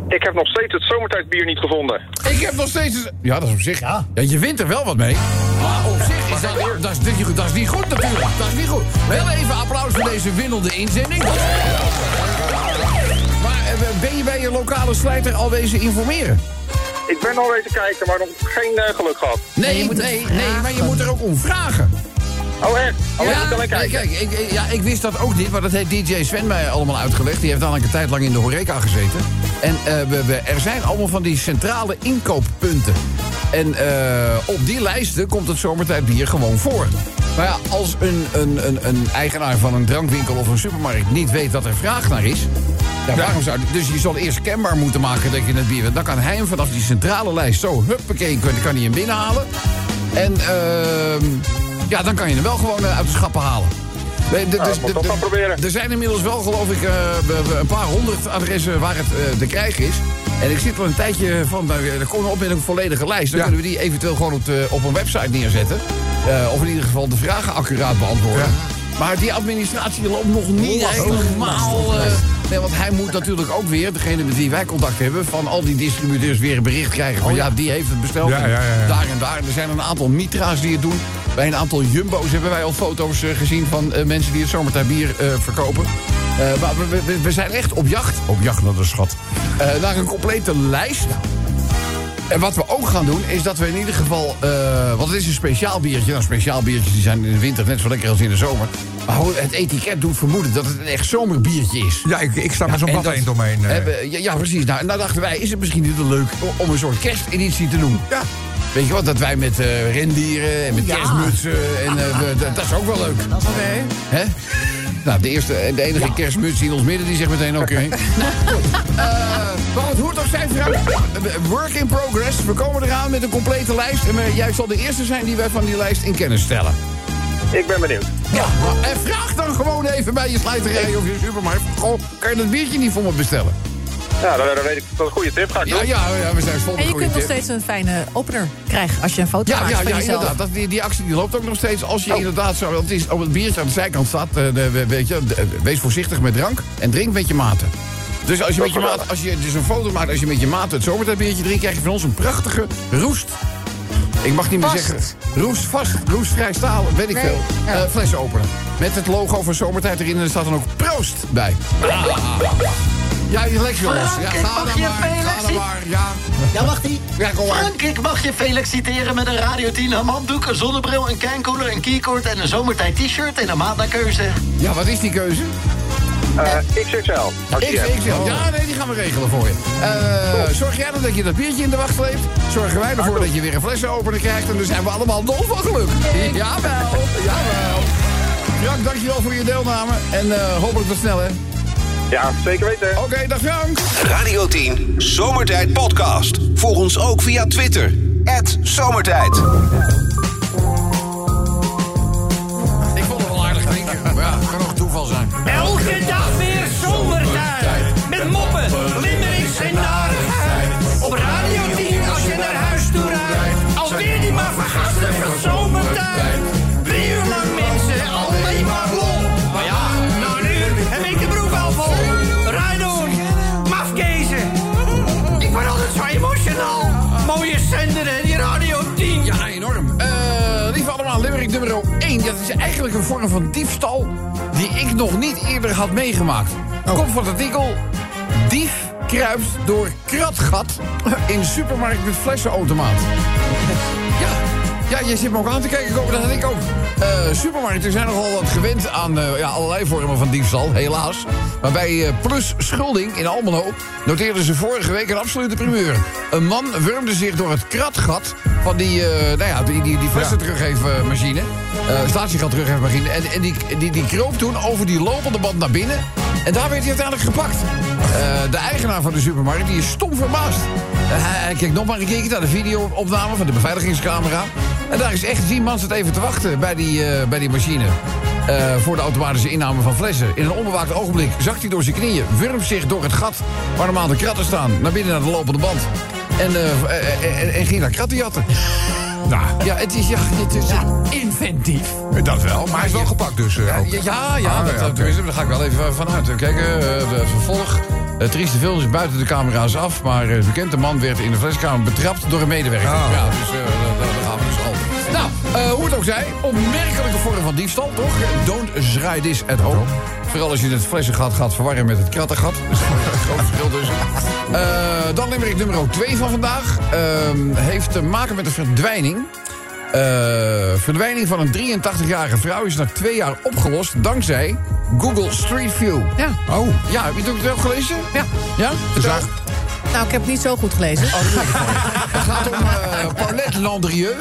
[SPEAKER 9] Ik heb nog steeds het zomertijdbier niet gevonden.
[SPEAKER 2] Ik heb nog steeds... een- Ja, dat is op zich... Ja. je wint er wel wat mee. Maar op zich is dat, dat, is, niet goed. dat is niet goed natuurlijk. Dat is niet goed. Heel even applaus voor deze winnende inzending. Dat is- Maar eh, ben je bij je lokale slijter al wezen informeren?
[SPEAKER 9] Ik ben al even kijken, maar nog geen eh, geluk gehad.
[SPEAKER 2] Nee, nee, nee, maar je moet er ook om vragen.
[SPEAKER 9] Oh, echt? Alleen
[SPEAKER 2] ja,
[SPEAKER 9] ja, alleen kijken.
[SPEAKER 2] nee, kijk, ik, ik- ja, ik wist dat ook niet, maar dat heeft DJ Sven mij allemaal uitgelegd. Die heeft namelijk een tijd lang in de horeca gezeten. En eh, we, we- er zijn allemaal van die centrale inkooppunten. En eh, op die lijsten komt het zomertijd bier gewoon voor. Maar ja, als een, een, een, een eigenaar van een drankwinkel of een supermarkt niet weet dat er vraag naar is... Ja, waarom zou, dus je zal eerst kenbaar moeten maken dat je het bier... wilt. Dan kan hij hem vanaf die centrale lijst zo huppakee, kan, kan hij hem binnenhalen. En ehm, ja, dan kan je hem wel gewoon eh, uit de schappen halen. Nee, d- dus-
[SPEAKER 9] moet ik
[SPEAKER 2] d-
[SPEAKER 9] toch
[SPEAKER 2] d-
[SPEAKER 9] gaan proberen.
[SPEAKER 2] Er zijn inmiddels wel, geloof ik, eh, we- we- een paar honderd adressen waar het eh, te krijgen is. En ik zit al een tijdje van, nou, er komt op met een volledige lijst. Dan
[SPEAKER 4] Ja.
[SPEAKER 2] kunnen we die eventueel gewoon op, de- op een website neerzetten. Eh, of in ieder geval de vragen accuraat beantwoorden. Maar die administratie loopt nog niet helemaal... eh, Nee, want hij moet natuurlijk ook weer, degene met wie wij contact hebben... van al die distributeurs weer een bericht krijgen van... ja, die heeft het besteld
[SPEAKER 4] Ja,
[SPEAKER 2] en
[SPEAKER 4] ja, ja, ja.
[SPEAKER 2] daar en daar. Er zijn een aantal mitra's die het doen. Bij een aantal jumbo's hebben wij al foto's eh, gezien... van eh, mensen die het zomertijd bier eh, verkopen. Eh, maar we, we- we zijn echt op jacht, op jacht naar de schat... eh, naar een complete lijst en wat we ook gaan doen, is dat we in ieder geval... eh, want het is een speciaal biertje. Nou, speciaal biertjes die zijn in de winter net zo lekker als in de zomer. Maar hoe- het etiket doet vermoeden dat het een echt zomerbiertje is.
[SPEAKER 4] Ja, ik, ik sta maar zo'n
[SPEAKER 2] En
[SPEAKER 4] bad
[SPEAKER 2] dat
[SPEAKER 4] eend omheen. eh.
[SPEAKER 2] hebben- ja, ja, precies. Nou, en dan dachten wij, is het misschien niet leuk o- om een soort kersteditie te doen?
[SPEAKER 4] Ja.
[SPEAKER 2] Weet je wat, dat wij met eh, rendieren en met
[SPEAKER 8] Ja.
[SPEAKER 2] kerstmutsen... En, eh, we- dat, dat is ook wel leuk.
[SPEAKER 8] Oké.
[SPEAKER 2] Hè? Nou, de, eerste, en de enige kerstmuts die in ons midden, die zegt meteen oké. Nou, goed. Eh, maar goed, hoe het ook zij, Frank,
[SPEAKER 4] eh, work in progress. We komen eraan met een complete lijst. En eh, jij zal de eerste zijn die wij van die lijst in kennis stellen.
[SPEAKER 9] Ik ben benieuwd.
[SPEAKER 4] Ja, maar- en vraag dan gewoon even bij je slijterij of je supermarkt. Goh, kan je dat biertje niet voor me bestellen?
[SPEAKER 9] Ja, dan, dan weet ik dat een goede tip ga ik
[SPEAKER 4] Ja,
[SPEAKER 9] doen.
[SPEAKER 4] ja, ja we zijn vol met
[SPEAKER 5] En je
[SPEAKER 4] goede
[SPEAKER 5] kunt nog
[SPEAKER 4] tips.
[SPEAKER 5] steeds een fijne opener krijgen als je een foto
[SPEAKER 4] Ja,
[SPEAKER 5] maakt
[SPEAKER 4] ja,
[SPEAKER 5] van
[SPEAKER 4] ja
[SPEAKER 5] jezelf. Oh.
[SPEAKER 4] inderdaad. Dat, die, die actie die loopt ook nog steeds. Als je inderdaad zo... Want het is, op het biertje aan de zijkant staat... eh, de- we- weet je, de- wees voorzichtig met drank en drink met je maten. Dus als je, met je, maat, als je dus een foto maakt, als je met je maten het zomertijdbiertje drinkt... krijg je van ons een prachtige roest. Ik mag niet meer
[SPEAKER 5] Vast.
[SPEAKER 4] zeggen... Roest vast, roestvrij staal, weet ik
[SPEAKER 5] Nee,
[SPEAKER 4] veel.
[SPEAKER 5] ja.
[SPEAKER 4] Eh, fles openen. Met het logo van zomertijd erin en er staat dan ook proost bij. Ja, je lekker jongens. Ja,
[SPEAKER 8] Frank, ik
[SPEAKER 4] ga
[SPEAKER 8] mag
[SPEAKER 4] dan
[SPEAKER 8] je
[SPEAKER 4] maar,
[SPEAKER 8] velen
[SPEAKER 4] ga dan
[SPEAKER 8] zien.
[SPEAKER 4] maar. Ja,
[SPEAKER 10] Ja, wacht ie.
[SPEAKER 4] ja kom maar.
[SPEAKER 8] Frank, ik mag je feliciteren met een Radio 10 handdoek, een zonnebril, een cankoeler, een keycord en een zomertijd t-shirt en een maat naar keuze.
[SPEAKER 4] Ja, wat is die keuze?
[SPEAKER 9] Eh, XXL. Als je
[SPEAKER 4] Ik,
[SPEAKER 9] hebt.
[SPEAKER 4] ik zeg, ja, nee, die gaan we regelen voor je. Eh, zorg jij dan dat je dat biertje in de wacht leeft? Zorgen wij ervoor dat je weer een flessenopener krijgt? En dan zijn we allemaal dol van geluk. Jawel, jawel. Frank, dankjewel voor je deelname. En eh, hopelijk tot snel, hè. Oké,
[SPEAKER 9] Ja, zeker weten.
[SPEAKER 4] dag Frank.
[SPEAKER 1] Radio 10 Zomertijd Podcast. Volg ons ook via Twitter. Zomertijd.
[SPEAKER 4] Ik vond het wel aardig klinken. Maar ja, kan nog toeval zijn.
[SPEAKER 2] Elke dag weer zomertijd. Met moppen, limmerings en narigheid. Op Radio 10 als je naar huis toe rijdt. Alweer die maar vergastige zomertijd. Drie uur lang mensen, alleen maar lol. Maar ja, na een uur heb ik de broek al vol. Rijd door, mafkezen. Ik word altijd zo emotional. Mooie zender hè, die Radio 10.
[SPEAKER 4] Ja, enorm. Eh lieve allemaal, Limerick nummer 1. Dat is eigenlijk een vorm van diefstal die ik nog niet eerder had meegemaakt. Komt van het artikel... Dief kruipt door kratgat in supermarkt met flessenautomaat. Ja, ja, je zit me ook aan te kijken komen, dat had ik ook. Eh, supermarkten zijn nogal wat gewend aan eh, ja, allerlei vormen van diefstal, helaas. Maar bij eh, Plus Schulding in Almelo noteerden ze vorige week een absolute primeur. Een man wurmde zich door het kratgat van die, eh, nou ja, die, die, die flessen teruggeefmachine. Eh statiegat teruggeefmachine. En, en die, die, die kroop toen over die lopende band naar binnen. En daar werd hij uiteindelijk gepakt. Eh, de eigenaar van de supermarkt die is stom verbaasd. Uh, Hij, hij kijkt nog maar een keertje naar de videoopname van de beveiligingscamera. En daar is echt tien man zit even te wachten bij die, eh, bij die machine. Eh, voor de automatische inname van flessen. In een onbewaakt ogenblik zakt hij door zijn knieën, wurmt zich door het gat waar normaal de kratten staan, naar binnen naar de lopende band. En, eh, eh, eh, eh, en ging naar kratten jatten. Nou, ja, het is, ja, het is inventief.
[SPEAKER 3] Dat wel, maar hij is wel gepakt dus. eh, ook.
[SPEAKER 4] Ja, ja, ja,
[SPEAKER 3] Ah,
[SPEAKER 4] dat,
[SPEAKER 3] ja,
[SPEAKER 4] dat-
[SPEAKER 3] oké.
[SPEAKER 4] tenminste, daar ga ik wel even vanuit. Kijk, eh, de vervolg. Het trieste film is buiten de camera's af, maar eh, de bekende man werd in de fleskamer betrapt door een medewerker.
[SPEAKER 3] Ah.
[SPEAKER 4] Ja, dus eh, daar- daar daar gaan we dus al. Nou, eh, hoe het ook zij, opmerkelijke vorm van diefstal, toch? Eh, Don't zraai this at home. Vooral als je het flessengat gaat verwarren met het krattengat. Dus dat is een groot verschil tussen. Eh, dan neem ik nummer 2 van vandaag. Ehm, heeft te maken met de verdwijning. Eh, verdwijning van een 83-jarige vrouw is na twee jaar opgelost dankzij Google Street View.
[SPEAKER 5] Ja.
[SPEAKER 4] Oh. Ja, heb je het ook wel gelezen?
[SPEAKER 5] Ja.
[SPEAKER 4] Ja? Vertel.
[SPEAKER 3] Zag-
[SPEAKER 5] Nou, ik heb het niet zo goed gelezen.
[SPEAKER 4] Het gaat om eh, Paulette Landrieu.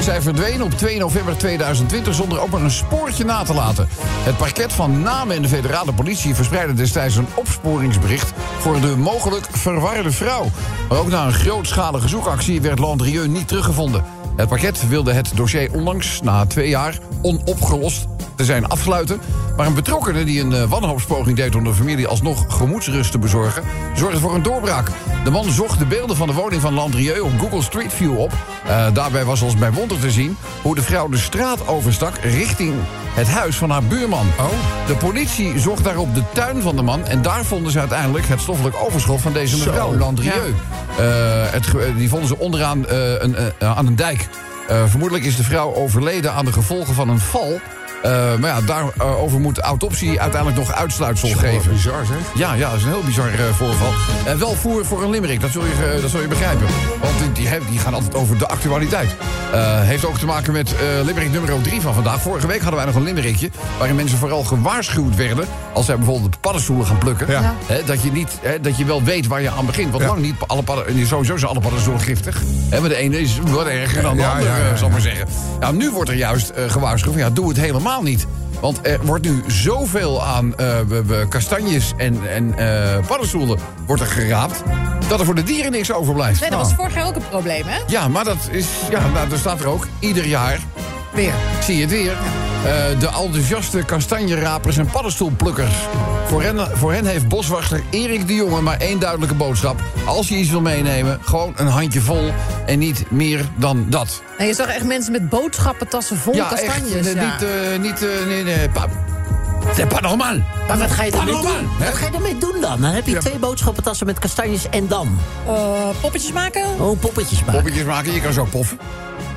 [SPEAKER 4] Zij verdween op 2 november 2020 zonder ook maar een spoortje na te laten. Het parket van Namen en de federale politie verspreidde destijds een opsporingsbericht... voor de mogelijk verwarde vrouw. Maar ook na een grootschalige zoekactie werd Landrieu niet teruggevonden. Het parket wilde het dossier onlangs, na twee jaar, onopgelost te zijn afsluiten. Maar een betrokkenen die een eh, wanhoopspoging deed om de familie alsnog gemoedsrust te bezorgen, zorgde voor een doorbraak. De man zocht de beelden van de woning van Landrieu op Google Street View op. Eh, daarbij was als bij wonder te zien hoe de vrouw de straat overstak richting het huis van haar buurman. De politie zocht daarop de tuin van de man en daar vonden ze uiteindelijk het stoffelijk overschot van deze mevrouw Landrieu. Eh, het, ge- eh, die vonden ze onderaan eh, een, eh, aan een dijk. Eh, vermoedelijk is de vrouw overleden aan de gevolgen van een val. Eh, maar ja, daarover moet autopsie uiteindelijk nog uitsluitsel
[SPEAKER 3] Wat
[SPEAKER 4] geven.
[SPEAKER 3] Bizar zeg.
[SPEAKER 4] Ja, ja, dat is een heel bizar eh, voorval. En wel voer voor een limerick, dat zul je, ge- dat zul je begrijpen. Want die, die, hebben- die gaan altijd over de actualiteit. Eh, heeft ook te maken met eh limerick nummer 3 van vandaag. Vorige week hadden wij nog een limerickje... waarin mensen vooral gewaarschuwd werden... als zij bijvoorbeeld paddenstoelen gaan plukken.
[SPEAKER 3] Ja. Ja.
[SPEAKER 4] Hè, dat, je niet, hè, dat je wel weet waar je aan begint. Want
[SPEAKER 3] Ja.
[SPEAKER 4] lang niet alle padden... Sowieso zijn alle paddenstoelen giftig. Hè, maar de ene is wat erger dan de
[SPEAKER 3] Ja,
[SPEAKER 4] andere,
[SPEAKER 3] ja, ja,
[SPEAKER 4] eh,
[SPEAKER 3] ja.
[SPEAKER 4] zal ik maar zeggen. Nou, nu wordt er juist eh, gewaarschuwd van... ja, doe het helemaal niet. Want er wordt nu zoveel aan eh, we- we- kastanjes en, en eh, paddenstoelen wordt er geraapt... dat er voor de dieren niks overblijft. Nou.
[SPEAKER 5] Nee, dat was vorig jaar ook een probleem, hè?
[SPEAKER 4] Ja, maar dat is. Ja, nou, daar staat er ook. Ieder jaar.
[SPEAKER 5] Weer.
[SPEAKER 4] Zie je het weer. Eh, de enthousiaste kastanjerapers en paddenstoelplukkers. Voor hen, voor hen heeft boswachter Erik de Jonge maar één duidelijke boodschap. Als je iets wil meenemen, gewoon een handje vol en niet meer dan dat.
[SPEAKER 5] En je zag echt mensen met boodschappentassen vol
[SPEAKER 4] ja,
[SPEAKER 5] kastanjes.
[SPEAKER 4] echt. eh,
[SPEAKER 5] ja.
[SPEAKER 4] Niet, eh, niet, eh, nee, nee, pa, C'est pas normal.
[SPEAKER 8] Maar wat ga je ermee
[SPEAKER 4] Hallo,
[SPEAKER 8] doen?
[SPEAKER 4] man, hè?
[SPEAKER 8] Wat ga je ermee doen dan? Dan heb je twee boodschappentassen met kastanjes en dan.
[SPEAKER 5] Eh, poppetjes maken?
[SPEAKER 8] Oh, poppetjes maken.
[SPEAKER 4] Poppetjes maken, je kan zo poffen.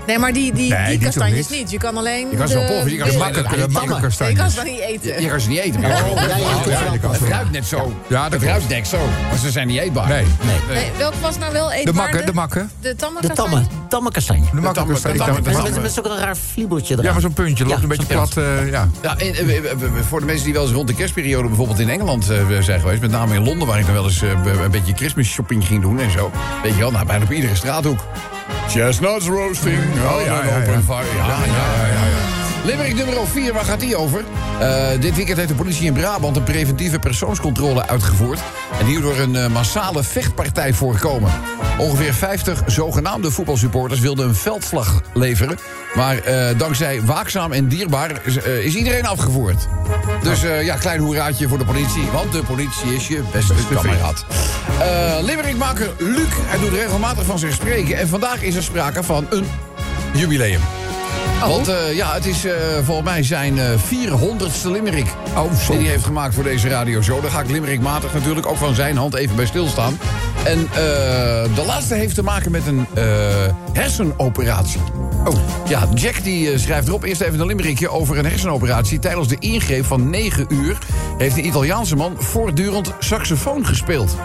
[SPEAKER 5] Nee, maar die, die,
[SPEAKER 3] Nee,
[SPEAKER 5] die
[SPEAKER 3] die
[SPEAKER 5] kastanjes
[SPEAKER 3] toch
[SPEAKER 5] niet.
[SPEAKER 3] niet?
[SPEAKER 5] Je kan alleen.
[SPEAKER 4] Je kan zo
[SPEAKER 5] de-
[SPEAKER 4] poffen, je kan
[SPEAKER 5] de-
[SPEAKER 4] ze eh,
[SPEAKER 5] Nee,
[SPEAKER 4] makkelijk-
[SPEAKER 3] Makkelijke,
[SPEAKER 8] Ja,
[SPEAKER 3] makkelijke
[SPEAKER 5] je kan
[SPEAKER 3] kastanjes.
[SPEAKER 5] ze wel niet eten.
[SPEAKER 4] Je, je kan ze niet eten. Maar Oh,
[SPEAKER 8] Ja, ja, ja,
[SPEAKER 4] het,
[SPEAKER 8] ja, ja, ja.
[SPEAKER 4] ruikt net zo.
[SPEAKER 3] Ja, dat
[SPEAKER 4] het
[SPEAKER 3] klopt.
[SPEAKER 4] ruikt net zo. Maar ze zijn niet eetbaar.
[SPEAKER 3] Nee.
[SPEAKER 5] Nee, welk was nou wel eetbaar?
[SPEAKER 3] makken, de makken.
[SPEAKER 5] De tamme
[SPEAKER 8] De
[SPEAKER 5] kastanje?
[SPEAKER 8] tamme, tamme kastanje.
[SPEAKER 3] De makkelijke
[SPEAKER 4] tamme-
[SPEAKER 3] kastanjes.
[SPEAKER 4] de tamme-
[SPEAKER 3] Ja,
[SPEAKER 4] de
[SPEAKER 8] Met,
[SPEAKER 4] tamme-
[SPEAKER 8] met, met zo'n raar vliebeltje eraan.
[SPEAKER 3] Ja, maar zo'n puntje loopt
[SPEAKER 8] Ja,
[SPEAKER 3] een beetje
[SPEAKER 8] zo'n
[SPEAKER 3] plat. eh, ja.
[SPEAKER 4] Ja, en, eh, we- we- we- voor de mensen die wel eens rond de kerstperiode bijvoorbeeld in Engeland eh, zijn geweest, met name in Londen, waar ik dan wel eens eh, be- een beetje Christmas shopping ging doen en zo. Weet je wel, nou, bijna op iedere straathoek. Chestnuts roasting. Oh
[SPEAKER 3] ja, ja,
[SPEAKER 4] open
[SPEAKER 3] ja.
[SPEAKER 4] fire. Ja, ja, ja. ja, Limerick nummer 4, waar gaat die over? Eh, dit weekend heeft de politie in Brabant een preventieve persoonscontrole uitgevoerd. En hierdoor een eh, massale vechtpartij voorkomen. Ongeveer 50 zogenaamde voetbalsupporters wilden een veldslag leveren. Maar eh, dankzij waakzaam en dierbaar is, eh, is iedereen afgevoerd. Dus eh, ja, klein hoeraatje voor de politie. Want de politie is je beste kameraad. Eh Limerickmaker Luc, hij doet regelmatig van zich spreken. En vandaag is er sprake van een jubileum. Want eh, ja, het is eh, volgens mij zijn eh, 400ste Limerick. Oh, die hij heeft gemaakt voor deze radioshow. Daar ga ik Limerickmatig natuurlijk ook van zijn hand even bij stilstaan. En eh, de laatste heeft te maken met een eh, hersenoperatie. Oh. Ja, Jack die eh, schrijft erop eerst even een limerickje over een hersenoperatie. Tijdens de ingreep van 9 uur heeft een Italiaanse man voortdurend saxofoon gespeeld.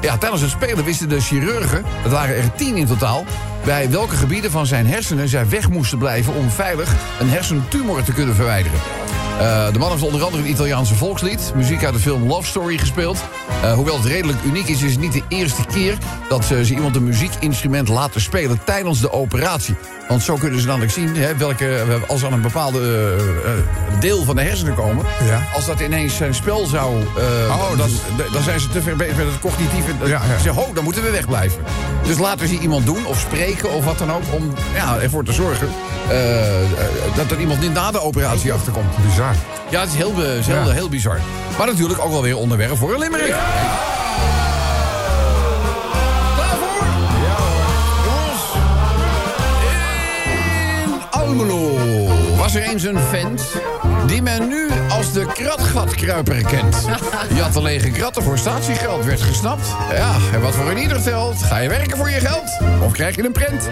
[SPEAKER 4] Ja, tijdens het spelen wisten de chirurgen, het waren er tien in totaal... bij welke gebieden van zijn hersenen zij weg moesten blijven... om veilig een hersentumor te kunnen verwijderen. Eh, de man heeft onder andere een Italiaanse volkslied... muziek uit de film Love Story gespeeld. Eh, hoewel het redelijk uniek is, is het niet de eerste keer... dat ze, ze iemand een muziekinstrument laten spelen tijdens de operatie. Want zo kunnen ze dan ook zien hè, welke... als ze aan een bepaalde eh, eh, deel van de hersenen komen...
[SPEAKER 3] Ja.
[SPEAKER 4] als dat ineens zijn spel zou... eh,
[SPEAKER 3] Oh,
[SPEAKER 4] dat,
[SPEAKER 3] dus-
[SPEAKER 4] d- dan zijn ze te ver bezig met het cognitieve.
[SPEAKER 3] Ja, ja.
[SPEAKER 4] Ze ho, dan moeten we wegblijven. Dus laten ze iemand doen of spreken of wat dan ook... om ja, ervoor te zorgen eh, eh, dat er iemand niet na de operatie achterkomt.
[SPEAKER 3] Bizar.
[SPEAKER 4] Ja, het is heel, bi- is heel,
[SPEAKER 3] Ja.
[SPEAKER 4] heel bizar. Maar natuurlijk ook wel weer onderwerp voor een limerick. Klaar voor? Jongens, in Almelo was er eens een vent die men nu als de kratgatkruiper kent. Die had de lege kratten voor statiegeld, werd gesnapt. Ja, en wat voor een ieder telt. Ga je werken voor je geld? Of krijg je een prent?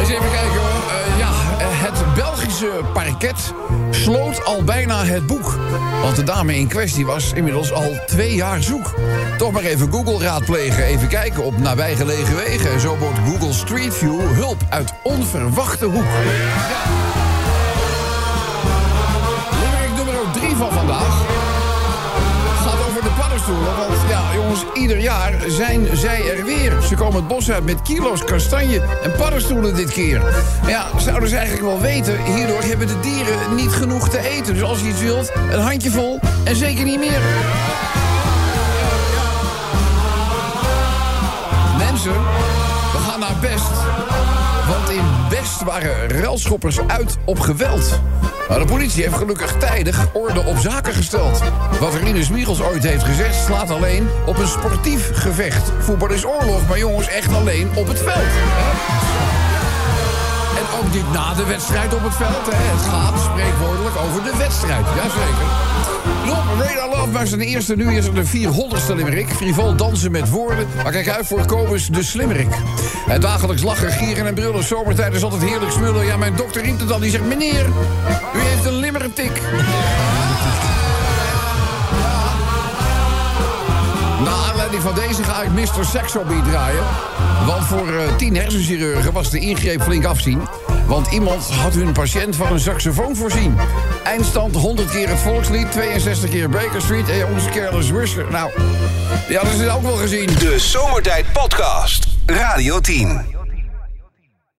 [SPEAKER 4] Eens even kijken hoor. Eh, ja, eh, het Belgische parket sloot al bijna het boek. Want de dame in kwestie was inmiddels al twee jaar zoek. Toch maar even Google raadplegen, even kijken op nabijgelegen wegen. En zo bood Google Street View hulp uit onverwachte hoek. Limerick nummer 3 van vandaag gaat over de paddenstoelen. Want ja, jongens, ieder jaar zijn zij er weer. Ze komen het bos uit met kilo's kastanje en paddenstoelen dit keer. Ja, zouden ze eigenlijk wel weten. Hierdoor hebben de dieren niet genoeg te eten. Dus als je iets wilt, een handje vol en zeker niet meer. Mensen, we gaan naar Best. Want in Best waren ruilschoppers uit op geweld. Maar de politie heeft gelukkig tijdig orde op zaken gesteld. Wat Rinus Michels ooit heeft gezegd slaat alleen op een sportief gevecht. Voetbal is oorlog, maar jongens echt alleen op het veld. hè? En ook niet na de wedstrijd op het veld. Hè. Het gaat spreekwoordelijk over de wedstrijd. Jazeker. Rob, Radar Love was de eerste. Nu is er de 400ste limerick. Frivol dansen met woorden. Maar kijk uit voor Kobus de slimmerik. Het dagelijks lachen, gieren en brullen. Zomertijd is altijd heerlijk smullen. Ja, mijn dokter riep het al. Die zegt, meneer, u heeft een limmertik. Na aanleiding van deze ga ik Mr. Sexoby draaien. Want voor eh, tien hersenchirurgen was de ingreep flink afzien. Want iemand had hun patiënt van een saxofoon voorzien. Eindstand 100 keer het volkslied, 62 keer Baker Street en onze careless Whisper. Nou, die hadden ze ook wel gezien.
[SPEAKER 1] De Zomertijd Podcast. Radio 10.